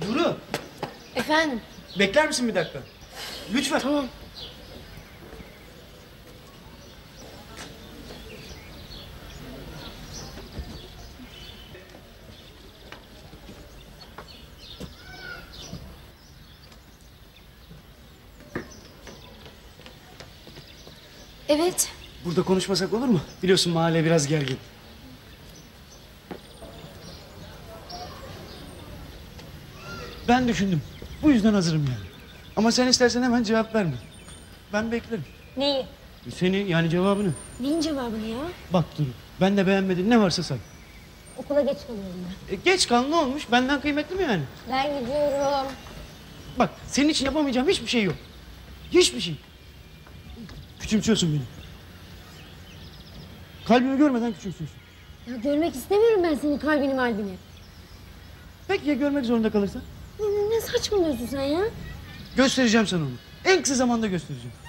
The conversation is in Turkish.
Duru, Efendim? bekler misin bir dakika? Lütfen. Tamam. Evet. Burada konuşmasak olur mu? Biliyorsun mahalle biraz gergin. Ben düşündüm. Bu yüzden hazırım yani. Ama sen istersen hemen cevap verme. Ben beklerim. Neyi? Seni yani cevabını. Neyin cevabını ya? Bak Duru, ben de beğenmedin ne varsa say. Okula geç kalıyorum ben. E, geç kal ne olmuş? Benden kıymetli mi yani? Ben gidiyorum. Bak senin için yapamayacağım hiçbir şey yok. Hiçbir şey. Küçümsüyorsun beni. Kalbimi görmeden küçümsüyorsun. Ya görmek istemiyorum ben senin kalbini malbini. Peki ya görmek zorunda kalırsan? Ne, ne saçmalıyorsun sen ya? Göstereceğim sana onu. En kısa zamanda göstereceğim.